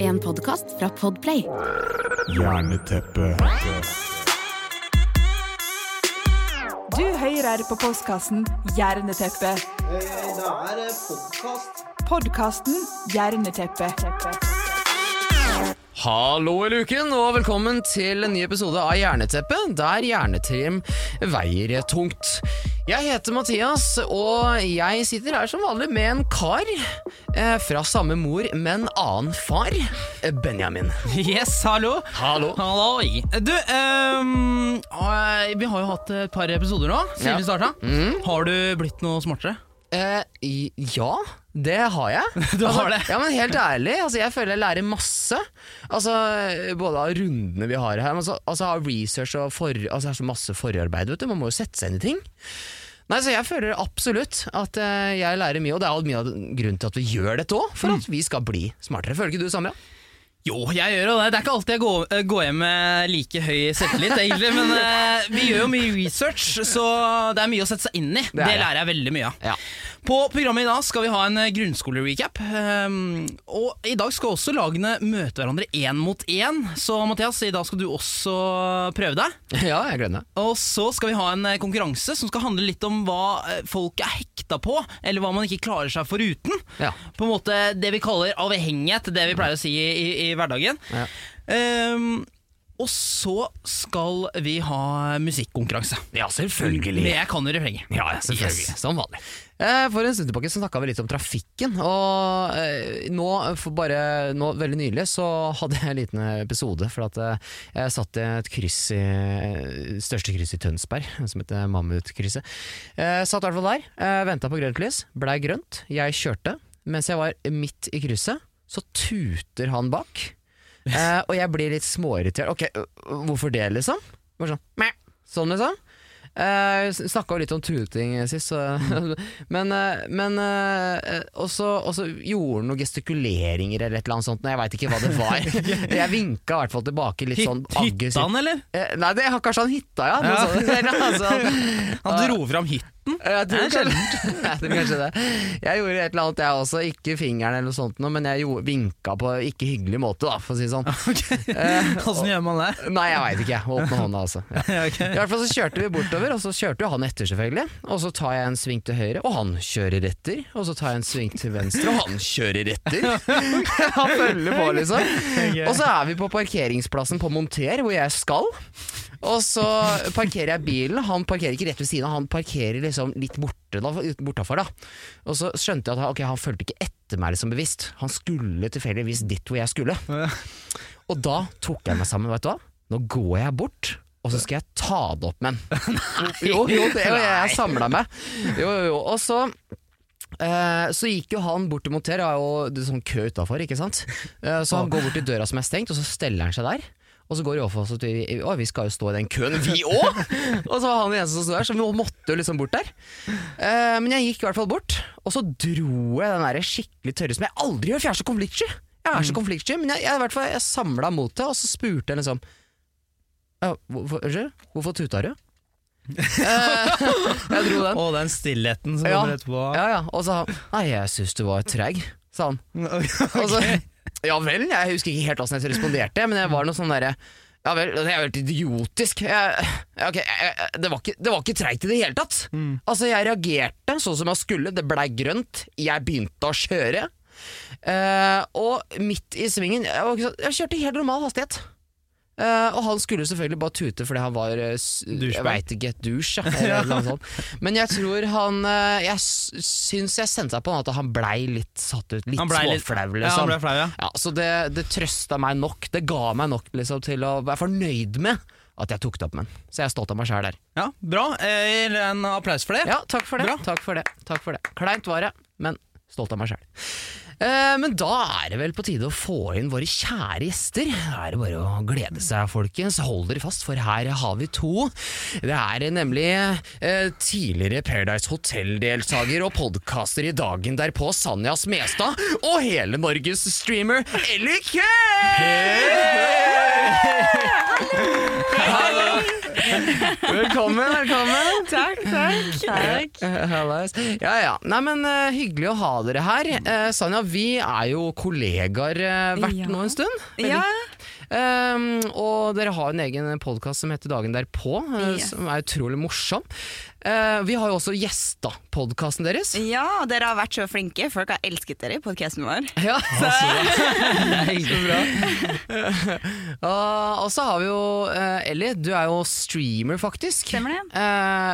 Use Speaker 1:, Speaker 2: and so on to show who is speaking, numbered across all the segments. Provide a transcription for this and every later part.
Speaker 1: En podkast fra Podplay.
Speaker 2: Jerneteppe.
Speaker 3: Du hører på postkassen Hjerneteppet.
Speaker 4: Da er det podkast.
Speaker 3: Podkasten Hjerneteppet.
Speaker 5: Hallo i luken, og velkommen til en ny episode av Jerneteppet, der hjernetrim veier tungt. Jeg heter Mathias, og jeg sitter her som vanlig med en kar eh, fra samme mor, men annen far. eh, Benjamin.
Speaker 6: Yes, hallo.
Speaker 5: Hallo.
Speaker 6: Halloi. Du, ehm, øh, vi har jo hatt et par episoder nå siden
Speaker 5: Ja. Mm.
Speaker 6: vi starta. Har du blitt noe smartere?
Speaker 5: Eh, i- ja, det har jeg. Altså,
Speaker 6: Du har det?
Speaker 5: Ja, men Helt ærlig, altså, jeg føler jeg lærer masse. Altså, Både av rundene vi har her, men så- altså, av research og for, altså, det er så masse forarbeid. vet du, Man må jo sette seg inn i ting. Nei, så Jeg føler absolutt at eh, jeg lærer mye, og det er jo mye av grunnen til at vi gjør dette òg. For at vi skal bli smartere. Føler ikke du det samme?
Speaker 6: Jo, jeg gjør jo det. Det er ikke alltid jeg går, øh, går hjem med like høy selvtillit, egentlig. Men øh, vi gjør jo mye research, så det er mye å sette seg inn i. Det,
Speaker 5: det.
Speaker 6: lærer jeg veldig mye av.
Speaker 5: Ja.
Speaker 6: På programmet i dag skal vi ha en øh, grunnskolerecap. ehm, og i dag skal også lagene møte hverandre én mot én. Så Mathias, i dag skal du også prøve deg.
Speaker 5: ja, jeg gleder meg.
Speaker 6: Og så skal vi ha en eh, konkurranse som skal handle litt om hva eh, folk er hekta på, eller hva man ikke klarer seg foruten.
Speaker 5: Ja.
Speaker 6: På en måte det vi kaller avhengighet, det vi pleier å si i, i, i hverdagen.
Speaker 5: Ja.
Speaker 6: Ehm, og så skal vi ha musikkonkurranse.
Speaker 5: Ja,
Speaker 6: Men
Speaker 5: selvfølgelig.
Speaker 6: jeg kan jo refrenget.
Speaker 5: Ja, ja, selvfølgelig.
Speaker 6: Yes.
Speaker 5: Som vanlig. Eh, For en stund tilbake så snakka vi litt om trafikken. Og eh, nå, for bare nå, veldig nylig, så hadde jeg en liten episode. For at eh, jeg satt i et kryss i eh, største kryss i Tønsberg, som heter Mammutkrysset. Eh, Satt i hvert fall der, eh, venta på grønt lys. Blei grønt. Jeg kjørte. Mens jeg var midt i krysset, så tuter han bak. Eh, og jeg blir litt småirritert. Ok, øh, hvorfor det, liksom? Bare sånn, meh. sånn liksom. Uh, Snakka jo litt om tuting sist, så Men, eh, men eh, og så og så gjorde han noen gestikuleringer eller et eller annet sånt, men jeg veit ikke hva det var. jeg vinka i hvert fall tilbake litt sånn
Speaker 6: Hyt- Hytta han, eller?
Speaker 5: Eh, nei, det, kanskje han hytta, ja. Noe
Speaker 6: Ja.
Speaker 5: sånt. Eller, altså,
Speaker 6: Han dro fram hytten.
Speaker 5: jeg tror, kanskje, jeg tror kanskje det. Jeg gjorde et eller annet, jeg også. Ikke fingeren eller noe sånt, noe, men jeg gjorde, vinka på ikke hyggelig måte, da, for å si det sånn.
Speaker 6: Åssen gjør man det?
Speaker 5: Nei, jeg veit ikke. jeg. Åpne hånda, altså. Ja.
Speaker 6: Ja, ok.
Speaker 5: I hvert fall så kjørte vi bortover, og så kjørte jo han etter, selvfølgelig. Og så tar jeg en sving til høyre, og han kjører etter. Og så tar jeg en sving til venstre, og han kjører etter. han følger på, liksom. Og så er vi på parkeringsplassen på Monter, hvor jeg skal. Og så parkerer jeg bilen. Han parkerer ikke rett ved siden av, han parkerer liksom litt borte da, bortafor. da. Og så skjønte jeg at han, ok, han fulgte ikke etter meg liksom bevisst. Han skulle tilfeldigvis dit hvor jeg skulle. Og da tok jeg meg sammen, vet du hva. Nå går jeg bort, og så skal jeg ta det opp med en. Jo, jo, det, jo, jeg samla meg. Jo, jo, jo. Og så eh, så gikk jo han bort til Monter, det er jo det er sånn kø utafor, ikke sant. Eh, så han går bort til døra som er stengt, og så steller han seg der. Og så går de overfor oss og sier Å, vi skal jo stå i den køen, vi òg! og så var han den eneste som sto der, så vi måtte jo liksom bort der. Eh, men jeg gikk i hvert fall bort, og så dro jeg den der skikkelig tørre som jeg aldri gjør, for jeg er så konfliktsky. Jeg er så konfliktsky, men jeg, jeg, i hvert fall, jeg samla mot det, og så spurte jeg liksom «Ja, hvorfor, unnskyld, hvorfor tuta du? Eh, jeg dro den.
Speaker 6: Å, den stillheten som
Speaker 5: Ja. Ja, ja. Og så sa han Nei, jeg syns du var treig, sa han. Og så, ja vel, jeg husker ikke helt hvordan jeg responderte, men jeg var noe sånn derre ja vel, det er jo helt idiotisk. Jeg, ok, jeg, jeg- det var ikke, det var ikke treigt i det hele tatt. Altså, jeg reagerte sånn som jeg skulle, det blei grønt, jeg begynte å kjøre. Eh, og midt i svingen Jeg, var ikke så- jeg kjørte i helt normal hastighet. Eh, og han skulle selvfølgelig bare tute fordi han var eh, s- Jeg
Speaker 6: Douchebag.
Speaker 5: veit ikke, et douche. ja, Eller noe sånt. Men jeg tror han eh, Jeg s- syns jeg sendte seg på han at han blei litt satt ut. Litt
Speaker 6: Han ble litt
Speaker 5: småflau, liksom.
Speaker 6: Ja, han ble flau, ja.
Speaker 5: Ja, så det, det trøsta meg nok. Det ga meg nok liksom, til å være fornøyd med at jeg tok det opp med den. Så jeg er stolt av meg sjæl der.
Speaker 6: ja. Bra. Eh, En applaus for det.
Speaker 5: Ja, takk for det.
Speaker 6: Bra.
Speaker 5: Takk for det. Takk for det. Kleint var det, men stolt av meg sjæl. men da er det vel på tide å få inn våre kjære gjester. Da er det bare å glede seg, folkens. Hold dere fast, for her har vi to. Det er nemlig eh, tidligere Paradise Hotel-deltaker og podkaster i Dagen derpå, Sanja Smestad, og hele Norges streamer Ellie Kay! Velkommen, velkommen.
Speaker 7: Takk, takk. takk.
Speaker 5: Eh, hallais. Ja, ja. Nei, men eh, hyggelig å ha dere her. Eh, Sanja, vi er jo kollegaer eh, vært
Speaker 7: Ja.
Speaker 5: nå en stund. Veldig-
Speaker 7: Ja,
Speaker 5: Ehm, og dere har en egen podkast som heter Dagen derpå, eh,
Speaker 7: Yes.
Speaker 5: som er utrolig morsom. Eh, vi har jo også gjesta podkasten deres.
Speaker 7: ja, dere har vært så flinke. Folk har elsket dere i podkasten vår.
Speaker 5: Ja.
Speaker 6: Nei, så bra.
Speaker 5: Ah, og så har vi jo eh, Ellie, du er jo streamer, faktisk.
Speaker 8: Stemmer det.
Speaker 5: Eh,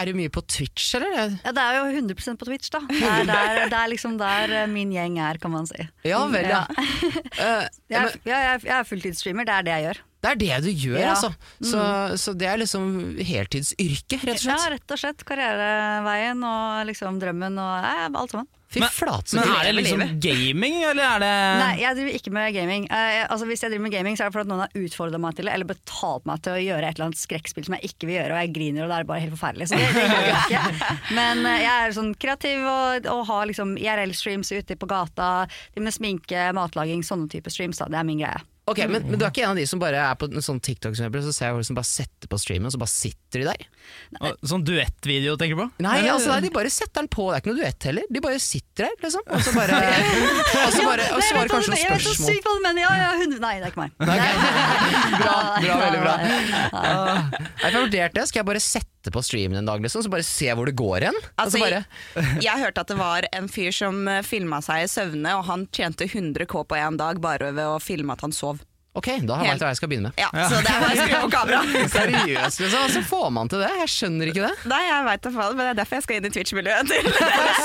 Speaker 5: er du mye på Twitch, eller?
Speaker 8: Ja, det er jo 100 på Twitch, da. Det er, der, det er liksom der eh, min gjeng er, kan man si.
Speaker 5: Ja vel, ja. Eh,
Speaker 8: Jeg
Speaker 5: men-
Speaker 8: er, ja, jeg er, jeg er fulltidsstreamer, det er det jeg gjør.
Speaker 5: Det er det du gjør,
Speaker 8: Ja.
Speaker 5: altså. Så, så det er liksom heltidsyrke, rett og
Speaker 8: Ja,
Speaker 5: slett.
Speaker 8: rett og slett. Karriereveien og liksom drømmen og ja, alt sammen.
Speaker 5: Fy
Speaker 6: Men-
Speaker 5: flate, så
Speaker 6: Men
Speaker 5: gøy.
Speaker 6: er det liksom gaming, eller er det
Speaker 8: Nei, jeg driver ikke med gaming. Eh, jeg- altså, hvis jeg driver med gaming, så er det fordi noen har utfordra meg til det, eller betalt meg til å gjøre et eller annet skrekkspill som jeg ikke vil gjøre, og jeg griner, og det er bare helt forferdelig. Så det, det gjør jeg ikke. Men eh, jeg er sånn kreativ og, og har liksom IRL-streams ute på gata, driver med sminke, matlaging, sånne type streams. Da. Det er min greie.
Speaker 5: Ok, men, men du er ikke en av de som bare er på en sånn TikTok, som jeg blir, så ser jeg folk som bare setter på streamen, og så bare sitter de der?
Speaker 6: Å, Sånn duettvideo, tenker du på?
Speaker 5: Nei, altså, nei, de bare setter den på, det er ikke noe duett heller. De bare sitter der, liksom. Og så bare, og så bare og
Speaker 8: Nei, jeg
Speaker 5: svarer
Speaker 8: vet hva du
Speaker 5: kanskje noen
Speaker 8: mener, Jeg vet så
Speaker 5: spørsmål.
Speaker 8: sykt hva du mener! Ja, ja, hun, nei, det er ikke meg.
Speaker 5: Bra, bra,
Speaker 8: Nei,
Speaker 5: veldig bra.
Speaker 8: nei, nei, nei.
Speaker 5: Ah, nei, for jeg vurderte det, skal jeg bare sette på streamen en dag, liksom, så bare se hvor det går hen? og
Speaker 7: Altså,
Speaker 5: så bare,
Speaker 7: Jeg hørte at det var en fyr som filma seg i søvne, og han tjente 100 K på én dag bare ved å filme at han sov.
Speaker 5: ok, da har jeg veit hva jeg skal begynne med.
Speaker 7: Ja, Så det er bare å skru på kameraet.
Speaker 5: Seriøst, liksom. Altså, får man til det? Jeg skjønner ikke det.
Speaker 7: Nei, jeg vet da faen, men det er derfor jeg skal inn i Twitch-miljøet. til.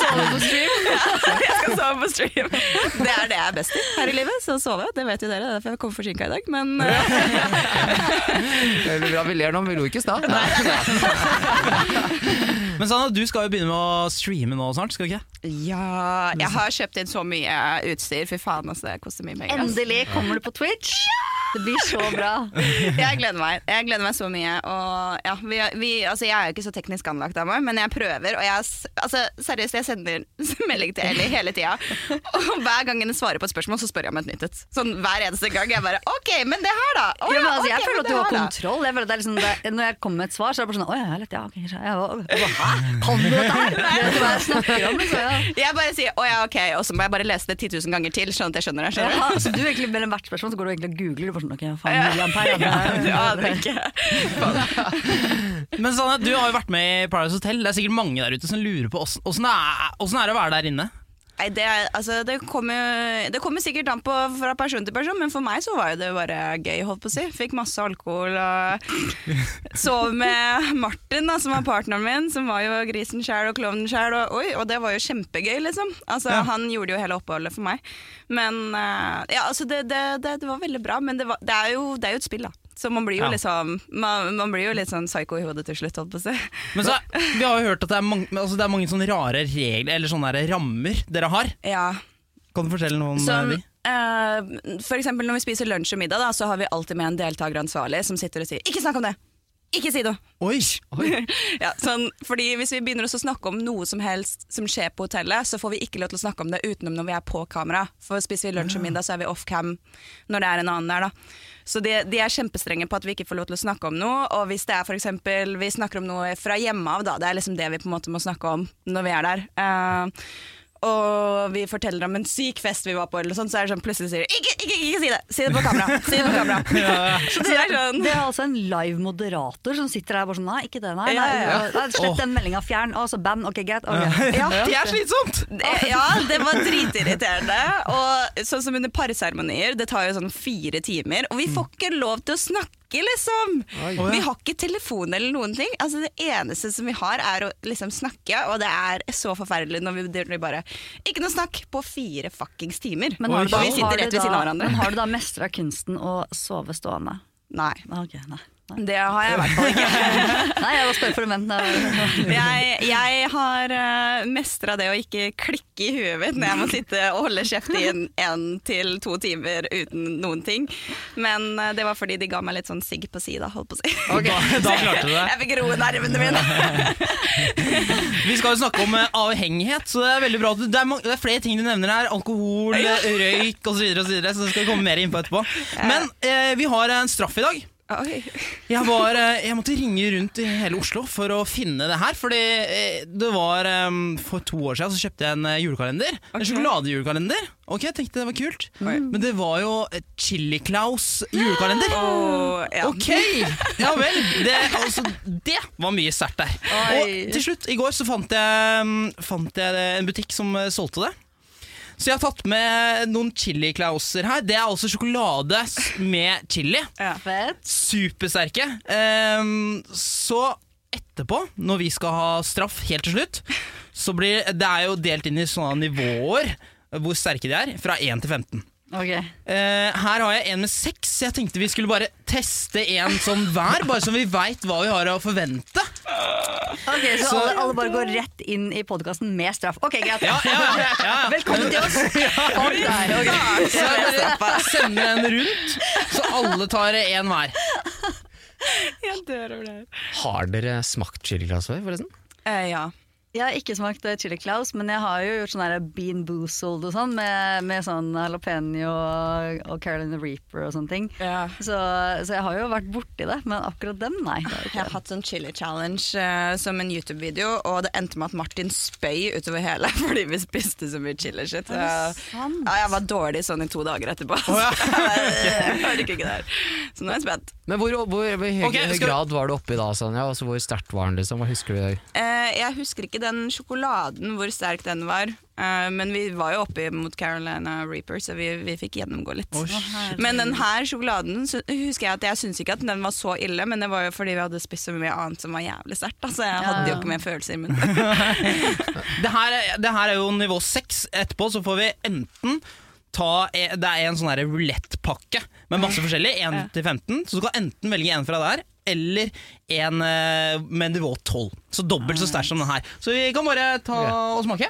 Speaker 7: Jeg skal sove på stream. Det er det jeg er best til her i livet, så sove. Det vet jo dere, det er derfor jeg kom forsinka i dag. Men eh,
Speaker 5: Veldig bra, vi ler nå, men vi lo ikke i stad.
Speaker 6: Men Sanna, du skal jo begynne med å streame nå snart, skal du ikke?
Speaker 7: ja, jeg har kjøpt inn så mye utstyr. Fy faen, altså, det koster mye penger. ass.
Speaker 8: Endelig kommer du på Twitch! Det blir så bra.
Speaker 7: Jeg gleder meg. Jeg gleder meg så mye. Og ja, vi, vi, altså, jeg er jo ikke så teknisk anlagt av meg, men jeg prøver. Og jeg, s- altså, seriøst, jeg sender melding til Ellie hele tida. Og hver gang hun svarer på et spørsmål, så spør jeg om et nytt et. Sånn hver eneste gang. Jeg bare OK, men det her, da? Å
Speaker 8: Ja, men,
Speaker 7: ja,
Speaker 8: altså, jeg
Speaker 7: ok, men
Speaker 8: føler at du
Speaker 7: det
Speaker 8: har
Speaker 7: her, da?»
Speaker 8: kontroll. Jeg føler at det er liksom det, når jeg kommer med et svar, så er det bare sånn Å ja, lett, ja, ok, ja, ja, og- og bare, Hæ? Kan du dette her? Jeg vet ikke hva jeg snakker om, liksom. Ja.
Speaker 7: Jeg bare sier 'å ja, ok', og så må jeg bare lese det 10 000 ganger til. Sånn at jeg skjønner det. skjønner
Speaker 8: Ja, så du egentlig mellom hvert spørsmål så går du egentlig og googler du bare sånn Ok, faen, milliampere ja,
Speaker 7: du.
Speaker 8: det
Speaker 7: Ja,
Speaker 8: er-
Speaker 7: det er ikke.
Speaker 6: Men Sanna, du har jo vært med i Paradise Hotel. Det er sikkert mange der ute som lurer på åssen åssen er, åssen er det å være der inne?
Speaker 7: Nei, det, er- altså, det kommer det kommer sikkert an på fra person til person, men for meg så var jo det bare gøy, holdt på å si. Fikk masse alkohol og sov med Martin, da, som var partneren min, som var jo grisen sjæl og klovnen sjæl, og, oi, og det var jo kjempegøy, liksom. Altså, Han gjorde jo hele oppholdet for meg. Men eh, Ja, altså, det, det, det, det var veldig bra, men det, var, det, er, jo, det er jo et spill, da. Så man blir jo
Speaker 6: Ja.
Speaker 7: liksom man, man blir jo litt sånn psycho i hodet til slutt, holdt på å si.
Speaker 6: Men så, Vi har jo hørt at det er mange, men altså, det er mange sånne rare regler, eller sånne der rammer, dere har.
Speaker 7: Ja.
Speaker 6: Kan du fortelle noe om
Speaker 7: Som,
Speaker 6: eh, de?
Speaker 7: eh, for eksempel når vi spiser lunsj og middag, da, så har vi alltid med en deltakeransvarlig som sitter og sier 'ikke snakk om det', 'ikke si noe'.
Speaker 6: Oi!
Speaker 7: ja, sånn, fordi hvis vi begynner å snakke om noe som helst som skjer på hotellet, så får vi ikke lov til å snakke om det utenom når vi er på kamera. For spiser vi lunsj og middag, så er vi off cam når det er en annen der, da. Så de, de er kjempestrenge på at vi ikke får lov til å snakke om noe. Og hvis det er for eksempel, vi snakker om noe fra hjemme av, da, det er liksom det vi på en måte må snakke om når vi er der. Eh, og vi forteller om en syk fest vi var på, eller sånn, så er det sånn plutselig sier de ikke, ikke, ikke, ikke si det! Si det på kamera! Si det på kamera! Så det er sånn
Speaker 8: Det er altså en live moderater som sitter der bare sånn Nei, ikke det, nei.
Speaker 7: Ja,
Speaker 8: nei,
Speaker 7: ja,
Speaker 8: nei slett den meldinga, fjern. Og så band, ok, greit. ok.
Speaker 7: ja,
Speaker 6: Det er slitsomt!
Speaker 7: Det- Eh, Ja, det var dritirriterende. Og sånn som under parseremonier, det tar jo sånn fire timer, og vi får ikke lov til å snakke, liksom! Vi har ikke telefon eller noen ting. Altså, det eneste som vi har, er å liksom snakke, og det er så forferdelig når vi blir bare Ikke noe snakk på fire fuckings timer.
Speaker 8: Men har du
Speaker 7: og
Speaker 8: da,
Speaker 7: vi
Speaker 8: har
Speaker 7: sitter
Speaker 8: du
Speaker 7: rett ved
Speaker 8: da-
Speaker 7: siden av hverandre.
Speaker 8: Men har du da mestra kunsten å sove stående?
Speaker 7: Nei.
Speaker 8: Nei, Ok, nei. Nei,
Speaker 7: Det har jeg i hvert fall ikke.
Speaker 8: nei jeg bare spør for å vente.
Speaker 7: Jeg, jeg har uh, mestra det å ikke klikke i huet mitt når jeg må sitte og holde kjeft i en, en til to timer uten noen ting. Men eh, det var fordi de ga meg litt sånn sigg på sida, holdt på å si.
Speaker 6: Da, da klarte du det.
Speaker 7: Jeg fikk roe nervene mine.
Speaker 6: Vi skal jo snakke om eh, avhengighet, så det er veldig bra. at du- Det er, mange, det er flere ting du nevner her. Alkohol, røyk osv., så, videre, og så, videre, så det skal vi komme mer inn på etterpå. Men eh, vi eh, har en straff i dag.
Speaker 7: Oi.
Speaker 6: Jeg, var, eh, jeg måtte ringe rundt i hele Oslo for å finne det her. Fordi eh, det var eh, For to år siden så kjøpte jeg en eh, julekalender. En sjokoladejulekalender. Ok, jeg tenkte det var kult. Men det var jo eh, Chili Claus julekalender.
Speaker 7: Åh, ja.
Speaker 6: Ok! Ja vel. Det, altså, det var mye sterkt der.
Speaker 7: Oi.
Speaker 6: Og til slutt, i går så fant jeg, mm, fant jeg en butikk som eh, solgte det. Så jeg har tatt med noen Chili Clauser her. Det er altså sjokolade s- med chili
Speaker 8: Fett.
Speaker 6: supersterke. Ehm, så etterpå, når vi skal ha straff helt til slutt, så blir det er jo delt inn i sånne nivåer hvor sterke de er, fra 1 til 15.
Speaker 8: Ok.
Speaker 6: Eh, her har jeg en med seks. Jeg tenkte vi skulle bare teste en sånn hver, bare så vi veit hva vi har å forvente.
Speaker 8: Ok, så,
Speaker 6: Så-
Speaker 8: alle, alle bare går rett inn i podkasten med straff. Ok, greit.
Speaker 6: Ja, ja, ja, ja.
Speaker 8: Velkommen til oss! Kom der, ok.
Speaker 6: Så jeg bare sender en rundt, så alle tar en hver.
Speaker 7: Jeg dør over det her.
Speaker 5: Har dere smakt chiliglass før, forresten?
Speaker 7: Eh, ja.
Speaker 8: Jeg har ikke smakt eh, chili claus, men jeg har jo gjort sånn her bean boozled og sånn, med, med sånn jalapeño og, og Carolina Reaper og sånne ting.
Speaker 7: Ja.
Speaker 8: Så, så jeg har jo vært borti det, men akkurat den, nei. det har jeg
Speaker 7: Jeg har
Speaker 8: ikke.
Speaker 7: hatt en chili challenge eh, som en YouTube-video, og det endte med at Martin spøy utover hele fordi vi spiste så mye chili shit.
Speaker 8: Er det
Speaker 7: Så-
Speaker 8: sant?
Speaker 7: Ja, jeg var dårlig sånn i to dager etterpå. Så jeg orker ikke det her. Så nå er jeg spent.
Speaker 5: Men hvor, hvor, hvor høy
Speaker 6: Ok, skal vi-
Speaker 5: grad var du oppe i da, Sanja? Altså, hvor sterkt var den? liksom? Hva husker du? i dag?
Speaker 7: Eh, jeg husker ikke den sjokoladen, hvor sterk den var. Eh, men vi var jo oppe mot Carolina Reaper, så vi, vi fikk gjennomgå litt. men den her sjokoladen sy- husker jeg at jeg syns ikke at den var så ille, men det var jo fordi vi hadde spist så mye annet som var jævlig sterkt. da, Så jeg hadde jo ikke mer følelser i munnen.
Speaker 6: Det her, er- det her er jo nivå 6 Etterpå så får vi enten ta e- Det er en sånn her roulette-pakke med masse forskjellig. 1 til 15. Så du kan enten velge en fra der, eller en eh, med nivå 12. Så dobbelt så sterk som den her. Så vi kan bare ta og smake.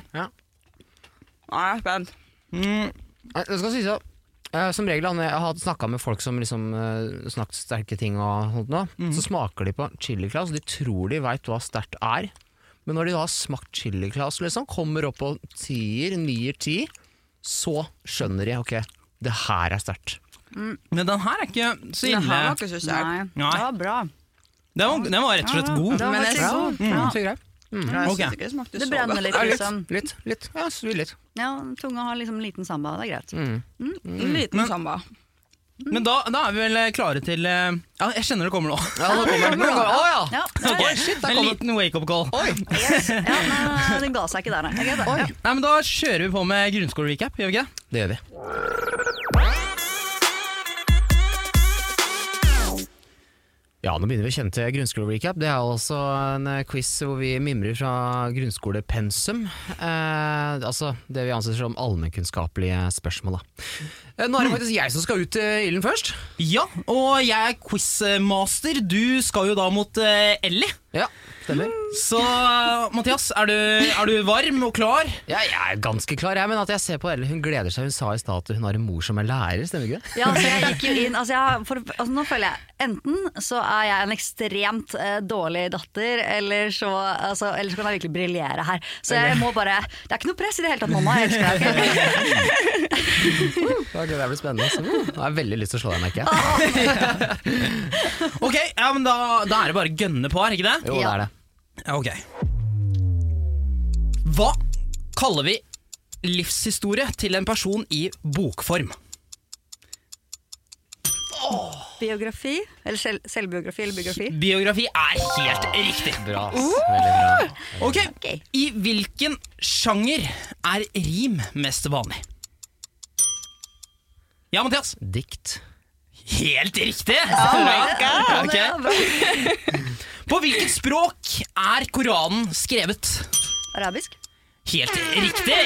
Speaker 7: Ja, jeg er spent.
Speaker 5: Nei, Det skal sies at eh, som regel, når jeg har snakka med folk som liksom, eh, snakket sterke ting, og sånt nå, så smaker de på chiliglass. De tror de veit hva sterkt er. Men når de da har smakt chiliglass, liksom, kommer opp på tier, nier, ti, så skjønner de ok, det her er sterkt.
Speaker 6: Men den her er ikke så
Speaker 7: Det her
Speaker 6: ille.
Speaker 7: var ikke så sterkt.
Speaker 8: Nei.
Speaker 6: Nei.
Speaker 8: Det var bra.
Speaker 6: Den var, den var rett og slett god.
Speaker 8: Det var
Speaker 7: Men jeg-
Speaker 8: faktisk god.
Speaker 5: Ja, så greit.
Speaker 7: Jeg
Speaker 6: Ok.
Speaker 7: synes ikke det smakte
Speaker 8: Det
Speaker 7: så godt.
Speaker 8: brenner litt, liksom.
Speaker 6: Sånn.
Speaker 5: Litt, litt. Ja, så litt.
Speaker 8: Ja, tunga har liksom liten samba, det er greit.
Speaker 7: En liten samba.
Speaker 6: Men da, da er vi vel eh, klare til eh, Ja, jeg kjenner det kommer nå.
Speaker 5: Ja, nå kommer den. Nå kommer den. Å ja!
Speaker 8: Ja,
Speaker 6: Ok, En liten wake-up call.
Speaker 8: ja nei, den ga seg ikke der, nei. Det er greit, det. Ja.
Speaker 6: Nei, men Da kjører vi på med grunnskole-recap, gjør vi ikke det?
Speaker 5: Det gjør vi. Ja, nå begynner vi å kjenne til grunnskole-recap. Det er altså en eh, quiz hvor vi mimrer fra grunnskolepensum. Eh, altså det vi anser som allmennkunnskapelige spørsmål, da. Eh, nå er det faktisk jeg som skal ut eh, ilden først.
Speaker 6: Ja, og jeg er quizmaster. Du skal jo da mot eh, Ellie.
Speaker 5: Ja, stemmer.
Speaker 6: Så eh, Mathias, er du, er du varm og klar?
Speaker 5: Ja, jeg er ganske klar, jeg, men at jeg ser på Ellen, hun gleder seg. Hun sa i stad at hun har en mor som er lærer, stemmer ikke det?
Speaker 8: Ja, altså jeg gikk jo inn altså jeg, har- for, altså Nå føler jeg enten så er jeg en ekstremt eh, dårlig datter, eller så, altså, eller så kan jeg virkelig briljere her. Så jeg må bare Det er ikke noe press i det hele tatt, mamma. Jeg elsker deg. ok?
Speaker 5: Ok, det blir spennende. Så, uh, jeg har veldig lyst til å slå deg, merker jeg.
Speaker 6: Ok, ja, men da, da er det bare å gønne på her, ikke det?
Speaker 5: Jo, det er det.
Speaker 6: Ja, ok. Hva kaller vi livshistorie til en person i bokform?
Speaker 8: Biografi? Eller selv, selvbiografi eller biografi?
Speaker 6: Biografi er helt riktig.
Speaker 5: Bra. ass. Veldig bra.
Speaker 6: Ok,
Speaker 8: Ok.
Speaker 6: I hvilken sjanger er rim mest vanlig? Ja, Mathias.
Speaker 5: Dikt.
Speaker 6: Helt riktig! Oh my God.
Speaker 8: Ja, bra.
Speaker 6: På hvilket språk er Koranen skrevet?
Speaker 8: Arabisk?
Speaker 6: Helt riktig!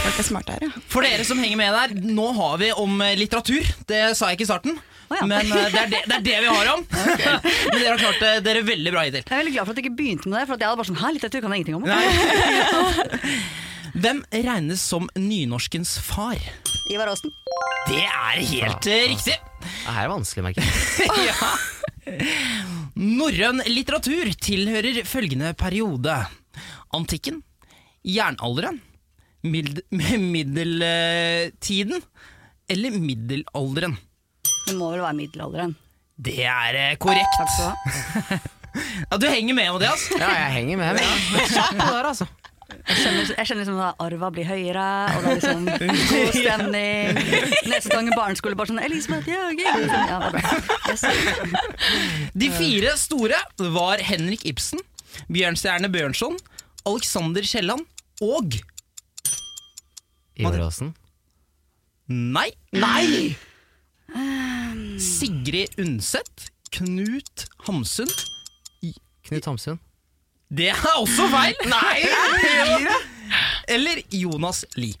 Speaker 7: Folk er smarte her, ja.
Speaker 6: For dere som henger med der, nå har vi om eh, litteratur. Det sa jeg ikke i starten.
Speaker 8: Å ja.
Speaker 6: Men eh, det er det, det er det vi har om. Men dere har klart det dere veldig bra hittil.
Speaker 8: Jeg er veldig glad for at du ikke begynte med det, for at jeg hadde bare sånn Hæ, litteratur kan jeg ingenting om.
Speaker 6: Hvem regnes som nynorskens far?
Speaker 8: Ivar Aasen.
Speaker 6: Det er helt eh, riktig.
Speaker 5: Det her er vanskelig, merker jeg.
Speaker 6: ja. Norrøn litteratur tilhører følgende periode. Antikken, jernalderen, mild- middeltiden eller middelalderen.
Speaker 8: Det må vel være middelalderen.
Speaker 6: Det er eh, korrekt.
Speaker 8: Takk skal du ha.
Speaker 6: Ja, du henger med om det, altså.
Speaker 5: Ja, jeg henger med. men jeg er Kjapp på det der, altså.
Speaker 8: Jeg kjenner, jeg kjenner liksom da arva blir høyere, og det er liksom god stemning. Neste gang i barneskolen bare sånn 'Elisabeth Jørgen'. Liksom, ja, det er bra. yes.
Speaker 6: De fire store var Henrik Ibsen, Bjørnstjerne Bjørnson, Alexander Kielland og
Speaker 5: Ivar Aasen.
Speaker 6: Nei! Nei!
Speaker 8: Ah.
Speaker 6: Sigrid Undset, Knut Hamsun.
Speaker 5: Knut Hamsun.
Speaker 6: Det er også feil! Nei! Eller Jonas Lie.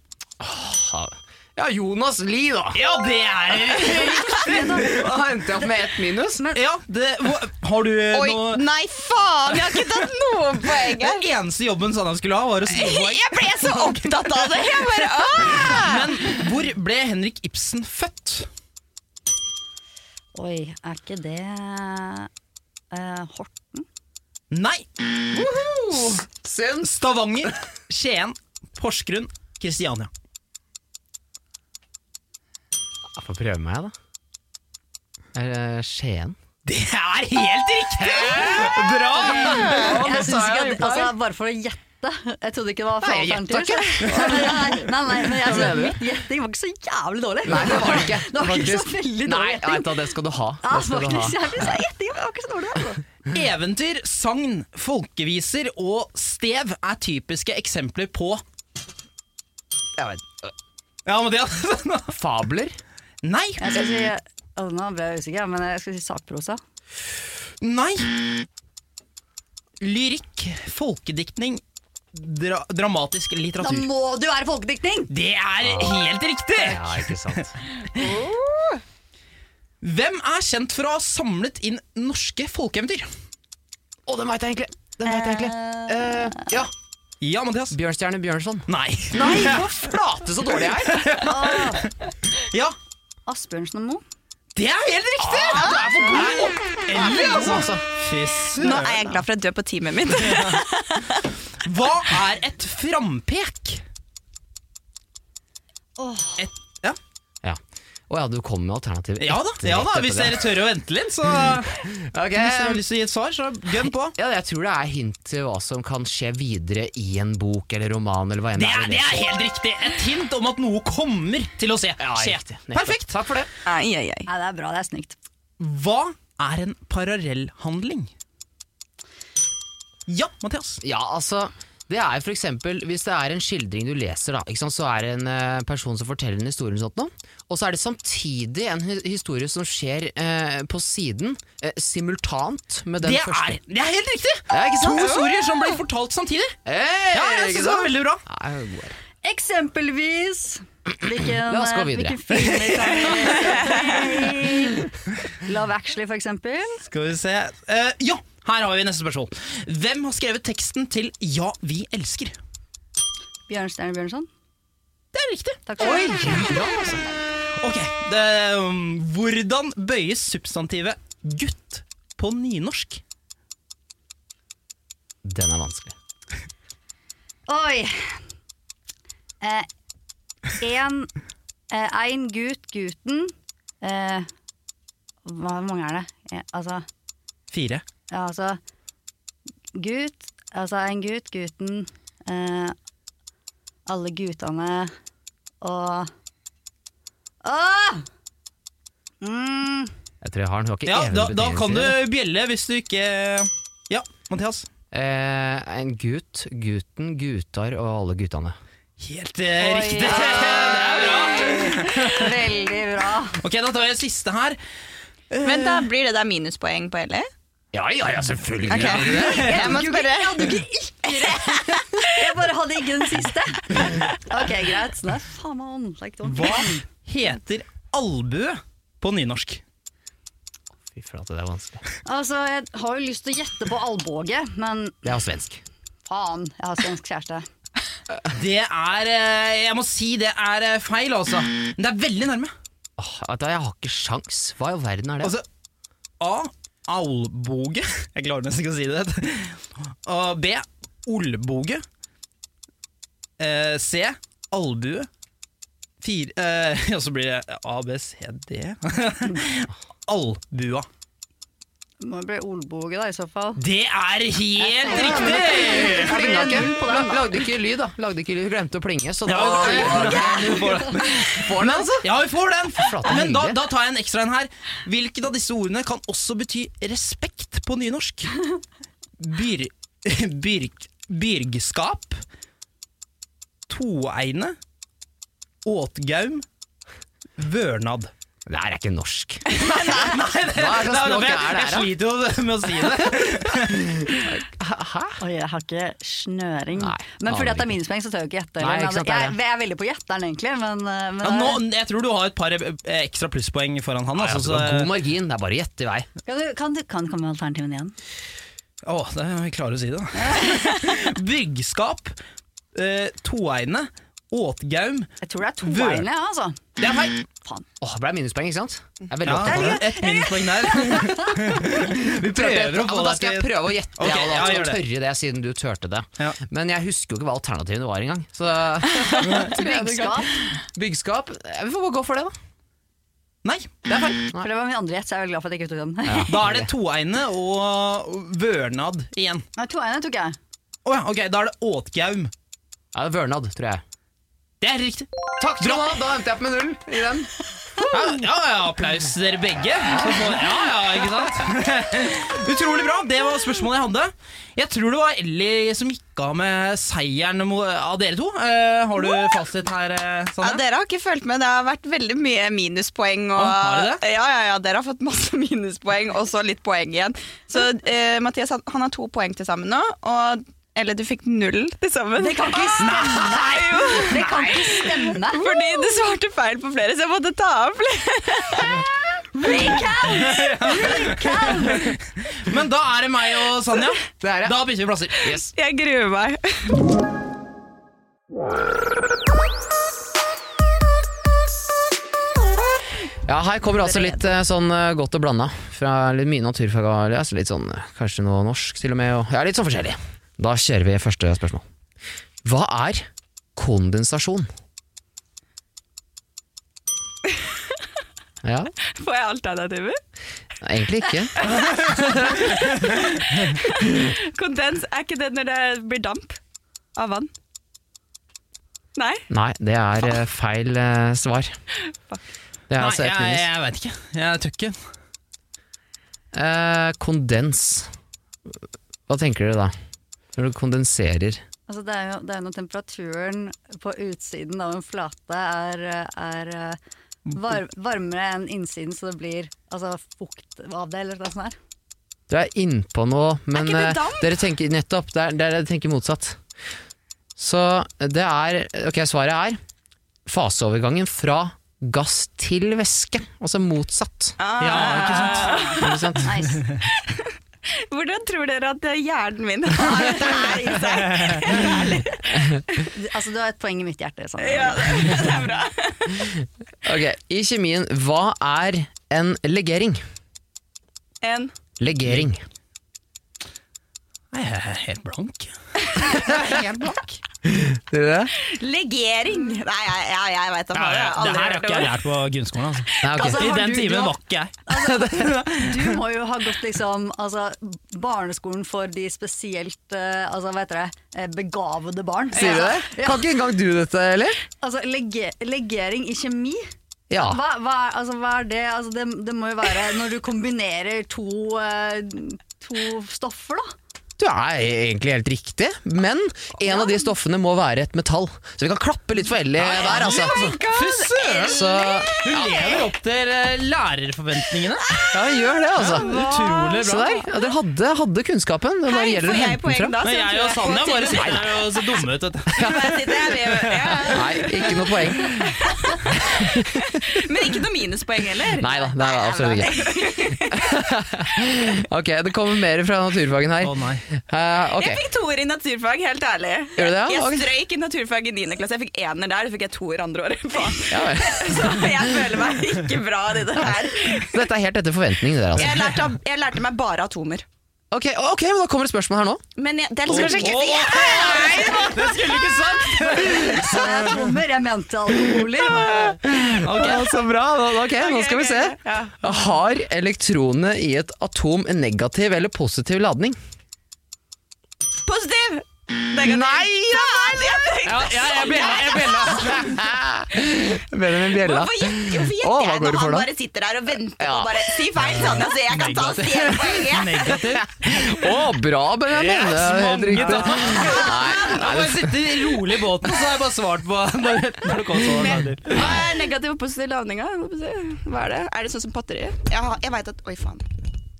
Speaker 5: Ja, Jonas Lie, da!
Speaker 6: Ja, det er
Speaker 5: Da endte jeg opp med ett minus.
Speaker 6: Ja, det hva- Har du
Speaker 9: Oi,
Speaker 6: noe
Speaker 9: nei faen! Jeg har ikke tatt noen poeng her!
Speaker 6: Den eneste jobben Sanna skulle ha, var å skrive poeng.
Speaker 9: Jeg ble så opptatt av det! Jeg bare, ah!
Speaker 6: Men hvor ble Henrik Ibsen født?
Speaker 8: Oi, er ikke det eh, Horten?
Speaker 6: Nei!
Speaker 5: Synd.
Speaker 6: Stavanger, Skien, Porsgrunn, Kristiania.
Speaker 5: Jeg får prøve meg, da. Er det Skien?
Speaker 6: Det er helt riktig! Bra!
Speaker 8: Jeg synes ikke at, altså, Bare for å gjette. Jeg trodde ikke det var
Speaker 5: Nei, jeg gjetter
Speaker 8: alternativer, så- Nei, nei, nei, nei, men jeg, synes, mitt gjetting var ikke så jævlig dårlig.
Speaker 5: Nei, det var det ikke.
Speaker 8: Det var ikke så
Speaker 5: Faktisk. Nei,
Speaker 8: veldig dårlig
Speaker 5: vet
Speaker 8: gjetting.
Speaker 5: du hva, det skal du ha.
Speaker 8: Ja,
Speaker 5: Det skal du ha.
Speaker 8: faktisk, jeg synes jeg gjetting var ikke så dårlig. Altså.
Speaker 6: Eventyr, sagn, folkeviser og stev er typiske eksempler på
Speaker 5: Jeg vet.
Speaker 6: Ja, men det
Speaker 5: Fabler?
Speaker 6: Nei!
Speaker 8: Jeg skal si, altså, nå ble jeg usikker, men jeg skal si sakprosa.
Speaker 6: Nei! Lyrikk, folkediktning, dra dramatisk
Speaker 8: Da
Speaker 6: litteratur.
Speaker 8: må det jo være folkediktning!
Speaker 6: Det er helt riktig!
Speaker 5: Ja, ikke sant.
Speaker 6: Hvem er kjent for å ha samlet inn norske folkeeventyr?
Speaker 5: Å, den veit jeg egentlig. Den vet jeg egentlig. Eh, ja.
Speaker 6: Ja, Mathias?
Speaker 5: Bjørnstjerne Bjørnson.
Speaker 6: Nei.
Speaker 5: Nei, hvor flate så dårlig jeg er!
Speaker 6: Ja,
Speaker 8: Asbjørnsen og Moe.
Speaker 6: det er helt riktig!
Speaker 5: Ah.
Speaker 6: Ja, du er for god Endelig, altså. Fy søren.
Speaker 7: Nå er jeg glad for at du er på teamet mitt.
Speaker 6: Hva er et frampek? Et, ja.
Speaker 5: Ja. Å ja, du kom med alternativet
Speaker 6: ja da,
Speaker 5: etter
Speaker 6: ja da,
Speaker 5: dette,
Speaker 6: hvis
Speaker 5: det.
Speaker 6: dere tør å vente litt, så Mm.
Speaker 5: Ok.
Speaker 6: Hvis dere har lyst til å gi et svar, så gønn på.
Speaker 5: Ja, jeg tror det er hint til hva som kan skje videre i en bok eller roman. eller hva enn
Speaker 6: Det er,
Speaker 5: vi
Speaker 6: det er
Speaker 5: leser.
Speaker 6: helt riktig. Et hint om at noe kommer til å se.
Speaker 5: Ja,
Speaker 6: skje.
Speaker 5: riktig. Nettopp.
Speaker 6: Perfekt. Takk for det.
Speaker 7: Ai, ai, ai.
Speaker 8: Nei, det er bra, det er snykt.
Speaker 6: Hva er en parallellhandling? Ja, Mathias.
Speaker 5: Ja, altså det er for eksempel, Hvis det er en skildring du leser, da, ikke sant, så er det en eh, person som forteller en historie, eller sånt noe, og så er det samtidig en hi- historie som skjer eh, på siden, eh, simultant med den
Speaker 6: Det
Speaker 5: første.
Speaker 6: er, det er helt riktig!
Speaker 5: Ja, ikke sant?
Speaker 6: To historier som ble fortalt samtidig.
Speaker 5: Hey,
Speaker 6: Ja, jeg synes det var veldig bra.
Speaker 8: Eksempelvis hvilken,
Speaker 5: La oss gå videre.
Speaker 8: hvilken film kan vi se? Love Actually, for eksempel.
Speaker 6: Skal vi se Eh, Ja, her har vi neste spørsmål. Hvem har skrevet teksten til Ja, vi elsker?
Speaker 8: Bjørnstjerne Bjørnson.
Speaker 6: Det er riktig.
Speaker 8: Takk skal du ha.
Speaker 6: Ok, det, um, Hvordan bøyes substantivet gutt på nynorsk?
Speaker 5: Den er vanskelig.
Speaker 8: Oi. Eh, en, eh, ein gut guten eh, Hva hvor mange er det? Eh, altså,
Speaker 6: Fire.
Speaker 8: ja, altså Gut, altså en gut, guten eh, Alle gutane og Åh! Mm,
Speaker 5: Jeg tror jeg har den. Du har ikke
Speaker 6: Ja,
Speaker 5: evig
Speaker 6: da, da
Speaker 5: betegnelse
Speaker 6: kan
Speaker 5: i
Speaker 6: du
Speaker 5: det.
Speaker 6: bjelle hvis du ikke Ja, Mathias.
Speaker 5: Eh, En gut, gutten, gutar og alle guttene.
Speaker 6: Helt eh,
Speaker 8: Oi.
Speaker 6: riktig. Det er bra.
Speaker 8: veldig bra.
Speaker 6: Ok, Da tar jeg siste her.
Speaker 7: Men da blir det der minuspoeng på E? Ellie.
Speaker 5: Ja, ja, ja, selvfølgelig.
Speaker 7: Ok. Jeg må spørre.
Speaker 8: Jeg bare hadde ikke den siste. Ok, greit. Så det er faen meg åndelig dumt.
Speaker 6: Hva heter albue på nynorsk?
Speaker 5: Fy flate, det er vanskelig.
Speaker 8: Altså, jeg har jo lyst til å gjette på albåge, men
Speaker 5: Det er svensk.
Speaker 8: faen, jeg har svensk kjæreste.
Speaker 6: Det er eh, Jeg må si det er eh, feil, altså. Men det er veldig nærme.
Speaker 5: Åh, vet du hva, jeg har ikke sjans. Hva i all verden er det?
Speaker 6: Altså A. Alboge. Jeg klarer nesten ikke å si det. Og B. Olboge. Eh, C. Albue. Fire eh, Og så blir det A, B, C, D. Albua.
Speaker 8: Må bli olboge, da, i så fall.
Speaker 6: Det er helt riktig!
Speaker 5: Plinga ikke. Lag- Lagde ikke lyd, da. Lagde ikke lyd. Glemte å plinge, så da får den, altså.
Speaker 6: Ja, vi får den!
Speaker 5: Flate
Speaker 6: Men da,
Speaker 5: hyggelig.
Speaker 6: da tar jeg en ekstra en her. Hvilket av disse ordene kan også bety respekt på nynorsk? Byr, byrk, byrgskap. Toegne. Åtgaum. Vørnad.
Speaker 5: Det her er ikke norsk.
Speaker 6: Nei, det,
Speaker 5: Hva er
Speaker 6: det,
Speaker 5: slags språk er det
Speaker 6: jeg, jeg
Speaker 5: her, da?
Speaker 6: sliter jo med å si det.
Speaker 8: Oi, jeg har ikke snøring.
Speaker 5: Nei,
Speaker 8: men
Speaker 5: aner
Speaker 8: fordi at det er
Speaker 5: ikke.
Speaker 8: minuspoeng, så tør jeg ikke
Speaker 5: Nei,
Speaker 8: gjette. eller?
Speaker 5: ikke sant, det er
Speaker 8: jeg,
Speaker 5: det.
Speaker 8: jeg er veldig på gjetteren, egentlig. Men, eh, men
Speaker 6: Ja, nå, jeg tror du har et par eh, ekstra plusspoeng foran han.
Speaker 5: Altså,
Speaker 6: Altså,
Speaker 5: det var
Speaker 6: så,
Speaker 5: god margin. Det er bare å gjette i vei.
Speaker 8: kan, du, kan, du, kan du komme med alternativene igjen?
Speaker 6: Å, eh, det er jeg klarer å si det. da. Byggskap, eh, toegne, åtgaum
Speaker 8: Jeg tror det er to
Speaker 6: Vør.
Speaker 8: veiene, ja, altså.
Speaker 6: Det er feil!
Speaker 5: Åh, det ble minuspoeng, ikke sant? Jeg er veldig
Speaker 6: Ja,
Speaker 5: opptatt av det.
Speaker 6: et minuspoeng der. Vi prøver å
Speaker 5: Ja,
Speaker 6: få
Speaker 5: men da
Speaker 6: deg
Speaker 5: skal jeg
Speaker 6: til
Speaker 5: prøve å gjette,
Speaker 6: Ok,
Speaker 5: jeg,
Speaker 6: ja,
Speaker 5: da,
Speaker 6: gjør
Speaker 5: og
Speaker 6: det.
Speaker 5: tørre det, siden du turte det.
Speaker 6: Ja.
Speaker 5: Men jeg husker jo ikke hva alternativene var engang. Så
Speaker 8: Byggskap.
Speaker 5: byggskap eh, Vi får bare gå for det, da.
Speaker 6: Nei, det er feil.
Speaker 8: For det var min andre gjett, så jeg er veldig glad for at jeg ikke tok den.
Speaker 6: Da er det toegne og vørnad igjen.
Speaker 8: Nei, to veiene tok jeg.
Speaker 6: Å ja, ok, da er det åtgaum.
Speaker 5: Ja, det er Vørnad, tror jeg.
Speaker 6: Det er riktig.
Speaker 5: Takk, Trond! Da- Da endte jeg opp med null i den.
Speaker 6: Ja, ja, ja applaus til dere begge. Så får- Ja, ja, ikke sant? Utrolig bra. Det var spørsmålet jeg hadde. Jeg tror det var Ellie som gikk av med seieren mo- av dere to. Eh, har du fasit her, eh,
Speaker 7: Ja,
Speaker 6: Sanne?
Speaker 7: dere har ikke fulgt med. Det har vært veldig mye minuspoeng. Og,
Speaker 6: Å, har det
Speaker 7: Ja, ja, ja, dere har fått masse minuspoeng, og så litt poeng igjen. Så eh, Mathias han, han har to poeng til sammen nå. Og, eller du fikk null til sammen.
Speaker 8: Det kan ikke stemme!
Speaker 7: Jo,
Speaker 8: Det kan ikke stemme!
Speaker 7: fordi du svarte feil på flere, så jeg måtte ta av flere.
Speaker 6: Men da er det meg og Sanja.
Speaker 5: Det er det.
Speaker 6: Da bytter vi plasser.
Speaker 5: Yes.
Speaker 7: Jeg gruer meg.
Speaker 5: Ja, her kommer altså litt eh, sånn eh, godt og blanda. Fra litt mye naturfag, altså litt sånn eh, kanskje noe norsk til og med. Og, ja, litt sånn forskjellig. Da kjører vi første spørsmål. Hva er kondensasjon? Ja,
Speaker 7: Får jeg alternativer?
Speaker 5: egentlig ikke.
Speaker 7: Kondens, er ikke det når det blir damp av vann? Nei?
Speaker 5: Nei, det er eh, feil eh, svar. Det er
Speaker 6: Nei,
Speaker 5: altså
Speaker 6: jeg,
Speaker 5: et
Speaker 6: jeg,
Speaker 5: minus.
Speaker 6: vet ikke. Jeg tør ikke.
Speaker 5: Eh, kondens. Hva tenker dere da? Når du kondenserer.
Speaker 8: Altså, det, er jo, det er jo når temperaturen på utsiden av en flate er, er eh, var, varmere enn innsiden, så det blir altså, fukt av det, eller noe sånt. her.
Speaker 5: Du er innpå noe, men
Speaker 7: ikke det
Speaker 5: eh,
Speaker 7: damp?
Speaker 5: dere tenker nettopp. Det er, det er, dere tenker motsatt. Så det er Ok, svaret er faseovergangen fra gass til væske. Altså motsatt.
Speaker 6: Ja, ikke sant?
Speaker 5: Ikke sant?
Speaker 8: Nice.
Speaker 7: Hvordan tror dere at hjernen min har dette her i seg?
Speaker 8: Altså, du har et poeng i mitt hjerte. Sånn.
Speaker 7: Ja, det det er bra.
Speaker 5: Ok, I kjemien, hva er en legering?
Speaker 7: En
Speaker 5: Legering.
Speaker 6: Nei, jeg er helt blank.
Speaker 7: legering. Nei, jeg, jeg, jeg veit da
Speaker 6: Ja,
Speaker 7: faen.
Speaker 6: ja,
Speaker 7: Jeg har
Speaker 6: det
Speaker 7: aldri
Speaker 6: her har
Speaker 7: hørt
Speaker 6: ikke
Speaker 7: om
Speaker 6: jeg
Speaker 7: det.
Speaker 6: lært på grunnskolen. Altså.
Speaker 5: Nei, ok.
Speaker 8: Altså,
Speaker 6: I
Speaker 8: har
Speaker 6: den
Speaker 8: du- du
Speaker 6: timen
Speaker 8: har-
Speaker 6: var ikke jeg.
Speaker 8: Du må jo ha gått liksom, altså, barneskolen for de spesielt eh, altså, hva heter det, eh, begavede barn.
Speaker 5: Sier du det?
Speaker 8: Ja,
Speaker 5: Kan ikke engang du dette, eller?
Speaker 8: altså, lege, legering i kjemi,
Speaker 5: Ja.
Speaker 8: hva, hva, er- altså, hva er det? Altså, det? Det må jo være når du kombinerer to, eh, to stoffer, da.
Speaker 5: Du er egentlig helt riktig, men en av de stoffene må være et metall. Så vi kan klappe litt for Ellie der, altså.
Speaker 6: Fy søren!
Speaker 5: Så
Speaker 6: Hun lever opp til eh, lærerforventningene.
Speaker 5: ja, vi gjør det, altså.
Speaker 6: Ah, Utrolig
Speaker 5: Så
Speaker 6: bra.
Speaker 5: der, ja, dere hadde, hadde kunnskapen, det
Speaker 7: Hei,
Speaker 5: bare gjelder å
Speaker 7: får jeg
Speaker 5: hente
Speaker 7: poeng
Speaker 5: den
Speaker 7: da?
Speaker 5: fram.
Speaker 6: Men
Speaker 7: Så
Speaker 6: Altså, jeg og
Speaker 7: tror
Speaker 6: Sanja
Speaker 7: får
Speaker 6: bare
Speaker 7: til-
Speaker 6: sitter her og ser dumme ut. Vet du.
Speaker 7: Bare sitter her, vi- ja.
Speaker 5: Nei, ikke noe poeng.
Speaker 7: Men ikke noe minuspoeng heller.
Speaker 5: Nei da, det er absolutt ikke. Ok, det kommer mer fra naturfagen her.
Speaker 6: Å, nei.
Speaker 5: Eh, ok,
Speaker 7: Jeg fikk toer i naturfag, helt ærlig.
Speaker 5: Gjør du det, ja? Ok.
Speaker 7: Jeg strøyk i naturfag i 9. klasse. Jeg fikk ener der, så fikk jeg toer andre året. faen.
Speaker 5: ja, vel.
Speaker 7: Så jeg føler meg ikke bra i det her.
Speaker 5: Så dette er helt etter forventningene der, altså.
Speaker 7: Jeg lærte, av- jeg lærte meg bare atomer.
Speaker 5: Ok, ok, men da kommer et spørsmål her nå.
Speaker 7: Men jeg, det er liksom kanskje
Speaker 6: Åh,
Speaker 7: ikke
Speaker 6: åh, åh, Det skulle du ikke sagt!
Speaker 8: Så jeg bommer, jeg mente alkoholer.
Speaker 5: Ja, så bra, da- ok, nå skal vi se. Har elektronene i et atom en negativ eller positiv ladning?
Speaker 7: Positiv! Negativ. Nei da!
Speaker 6: Ja, ja, jeg ble jeg ble
Speaker 5: Benjamin Bjella.
Speaker 7: Hvorfor gjetter hvorfor
Speaker 5: Åh,
Speaker 7: gjetter
Speaker 5: hva
Speaker 7: jeg
Speaker 5: går
Speaker 7: når
Speaker 5: du for
Speaker 7: han
Speaker 5: da?
Speaker 7: bare sitter der og venter
Speaker 5: Ja.
Speaker 7: på bare Si feil, Sanja, så jeg kan ta stjernepoenget!
Speaker 6: negativ.
Speaker 5: Å, bra, Benjamin!
Speaker 6: Yes,
Speaker 5: Det er helt
Speaker 6: mange
Speaker 5: riktig.
Speaker 6: takk.
Speaker 5: Nei,
Speaker 6: Jeg bare sitter rolig i båten, så har jeg bare svart på når, når det kom sånn. lader.
Speaker 9: Hva er negativ og positiv ladning? da? Hva er det? Er det sånn som batteri? Jeg, har- jeg veit at Oi, faen.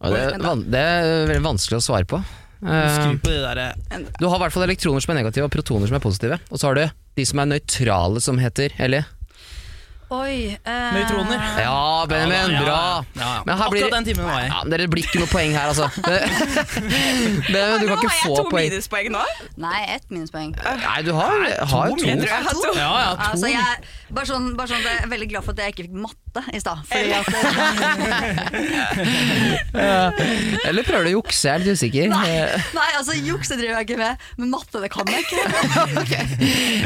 Speaker 5: Og det, er van det er veldig vanskelig å svare på. Eh,
Speaker 6: Skru på de der eh,
Speaker 5: Du har i hvert fall elektroner som er negative, og protoner som er positive. Og så har du de som er nøytrale, som heter Ellie.
Speaker 8: Oi. eh,
Speaker 6: nøytroner.
Speaker 5: Ja, Benjamin,
Speaker 6: Ja, ja,
Speaker 5: bra!
Speaker 6: ja, ja.
Speaker 5: Men her blir
Speaker 6: Akkurat den timen var jeg.
Speaker 5: Ja, men dere blir ikke noe poeng her, altså. Benjamin, du kan ikke få poeng.
Speaker 9: minuspoeng nå.
Speaker 8: Nei, ett minuspoeng.
Speaker 5: Nei, du har, har jo to.
Speaker 9: tror jeg har to.
Speaker 6: Ja, ja, to.
Speaker 8: Altså, jeg, bare sånn, bare sånn, at jeg er veldig glad for at jeg ikke fikk matte i stad. fordi at-
Speaker 5: Eller prøver du å jukse, jeg er litt usikker.
Speaker 8: Nei, nei, altså juks det driver jeg ikke med, men matte det kan jeg ikke.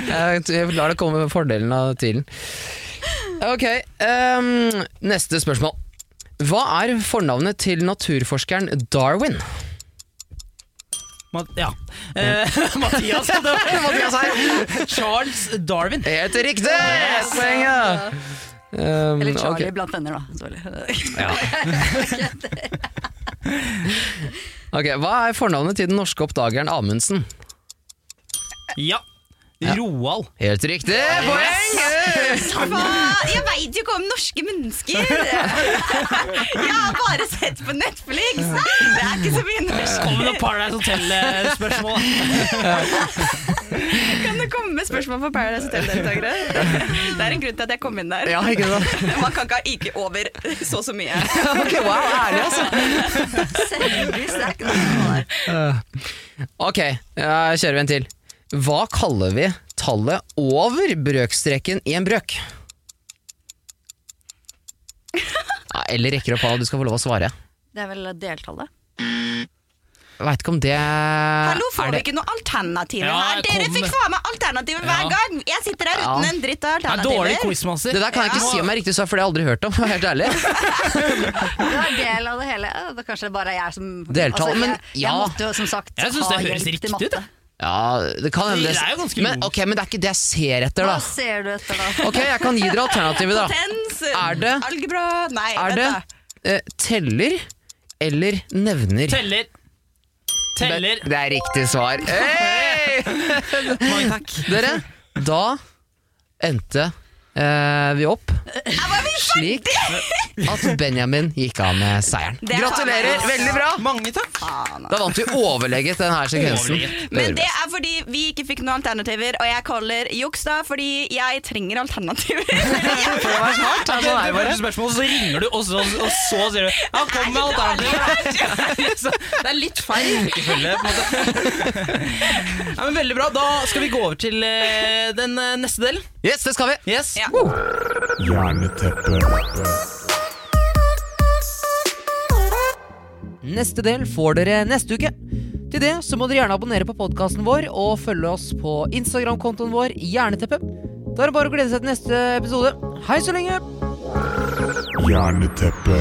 Speaker 5: Jeg jeg lar det komme med fordelen av tvilen. Ok, ehm, neste spørsmål. Hva er fornavnet til naturforskeren Darwin?
Speaker 6: Ma- Ja. Eh, Mathias, det var Mathias her. Charles Darwin.
Speaker 5: Helt riktig! Poenget! Um,
Speaker 8: Eller Charlie
Speaker 5: ok.
Speaker 8: blant venner, da. selvfølgelig.
Speaker 5: Ok, Hva er fornavnet til den norske oppdageren Amundsen?
Speaker 6: Ja.
Speaker 5: Ja.
Speaker 6: Roald.
Speaker 5: Helt riktig! Poeng!
Speaker 7: Faen, Jeg veit jo ikke om norske mennesker! Jeg har bare sett på Netflix! Det er ikke så mye norsk.
Speaker 6: Kom med noe Paradise eh, Hotel-spørsmål.
Speaker 9: Kan det komme med spørsmål for Paradise Hotel-deltakere? Det er en grunn til at jeg kom inn der.
Speaker 5: Ja, ikke sant?
Speaker 9: Man kan ikke ha IQ over så så mye.
Speaker 5: Ok, wow, ærlig altså.
Speaker 8: Selvvis, det er ikke noe der.
Speaker 5: Ok, jeg kjører en til. Hva kaller vi tallet over brøkstreken i en brøk? Ja, Eller rekker opp hånda, du skal få lov å svare.
Speaker 8: Det er vel deltallet.
Speaker 5: Jeg Veit ikke om det
Speaker 7: Hallo, får
Speaker 5: er
Speaker 7: vi
Speaker 5: det-
Speaker 7: ikke noen alternativer
Speaker 6: Ja,
Speaker 7: her?
Speaker 6: jeg
Speaker 7: Dere
Speaker 6: kom
Speaker 7: fikk
Speaker 6: med-
Speaker 7: faen meg alternativer hver
Speaker 6: Ja.
Speaker 7: gang! Jeg sitter her uten
Speaker 5: Ja.
Speaker 7: en dritt av
Speaker 6: Det er dårlig
Speaker 7: alternativer.
Speaker 6: quizmaster.
Speaker 5: Det der kan jeg ikke si om jeg er riktig svar, for det har jeg aldri hørt om. for å være Helt ærlig
Speaker 8: Det var del av det hele. Ja, Det er kanskje bare jeg som altså,
Speaker 5: Deltall, men
Speaker 8: jeg, jeg
Speaker 5: ja.
Speaker 8: måtte jo som sagt
Speaker 6: Jeg synes det
Speaker 8: ha
Speaker 6: høres
Speaker 8: hjelp til
Speaker 6: riktig ut,
Speaker 8: matte.
Speaker 6: det.
Speaker 5: Ja, det kan hende
Speaker 6: Det er jo ganske
Speaker 5: men,
Speaker 6: logisk.
Speaker 5: ok, men det er ikke det jeg ser etter,
Speaker 8: Hva
Speaker 5: da.
Speaker 8: ser du etter da?
Speaker 5: Ok, jeg kan gi dere alternativet, da.
Speaker 7: Potens,
Speaker 5: Er det-
Speaker 7: algebra Nei,
Speaker 5: Er
Speaker 7: vent
Speaker 5: det
Speaker 7: da.
Speaker 5: eh, teller eller nevner?
Speaker 6: Teller. Teller.
Speaker 5: Det, det er riktig svar. Hey!
Speaker 6: Mange takk.
Speaker 5: Dere, da endte eh, vi opp slik at Benjamin gikk av med seieren.
Speaker 7: er
Speaker 5: Gratulerer!
Speaker 7: faen meg-
Speaker 5: Veldig bra!
Speaker 6: Mange takk.
Speaker 5: Da vant vi overlegget denne sekvensen.
Speaker 6: Overlegget.
Speaker 5: Det gjorde
Speaker 7: Men
Speaker 5: vi.
Speaker 7: det er fordi vi ikke fikk noen alternativer, og jeg kaller juks da fordi jeg trenger alternativer.
Speaker 5: Det var smart.
Speaker 6: Det
Speaker 5: altså, det er
Speaker 6: det
Speaker 5: bare-
Speaker 6: første spørsmålet, så ringer du, og så, og så sier du Ja, kom med alternativer! Så Det er litt feil rekkefølge, på en måte. Ja, men veldig bra. Da skal vi gå over til eh, den eh, neste delen.
Speaker 5: Yes, det skal vi.
Speaker 6: Yes.
Speaker 7: Ja.
Speaker 2: Hjerneteppe.
Speaker 5: Neste del får dere neste uke. Til det så må dere gjerne abonnere på podkasten vår og følge oss på Instagram-kontoen vår Hjerneteppe. Da er det bare å glede seg til neste episode. Hei så lenge!
Speaker 2: Hjerneteppe.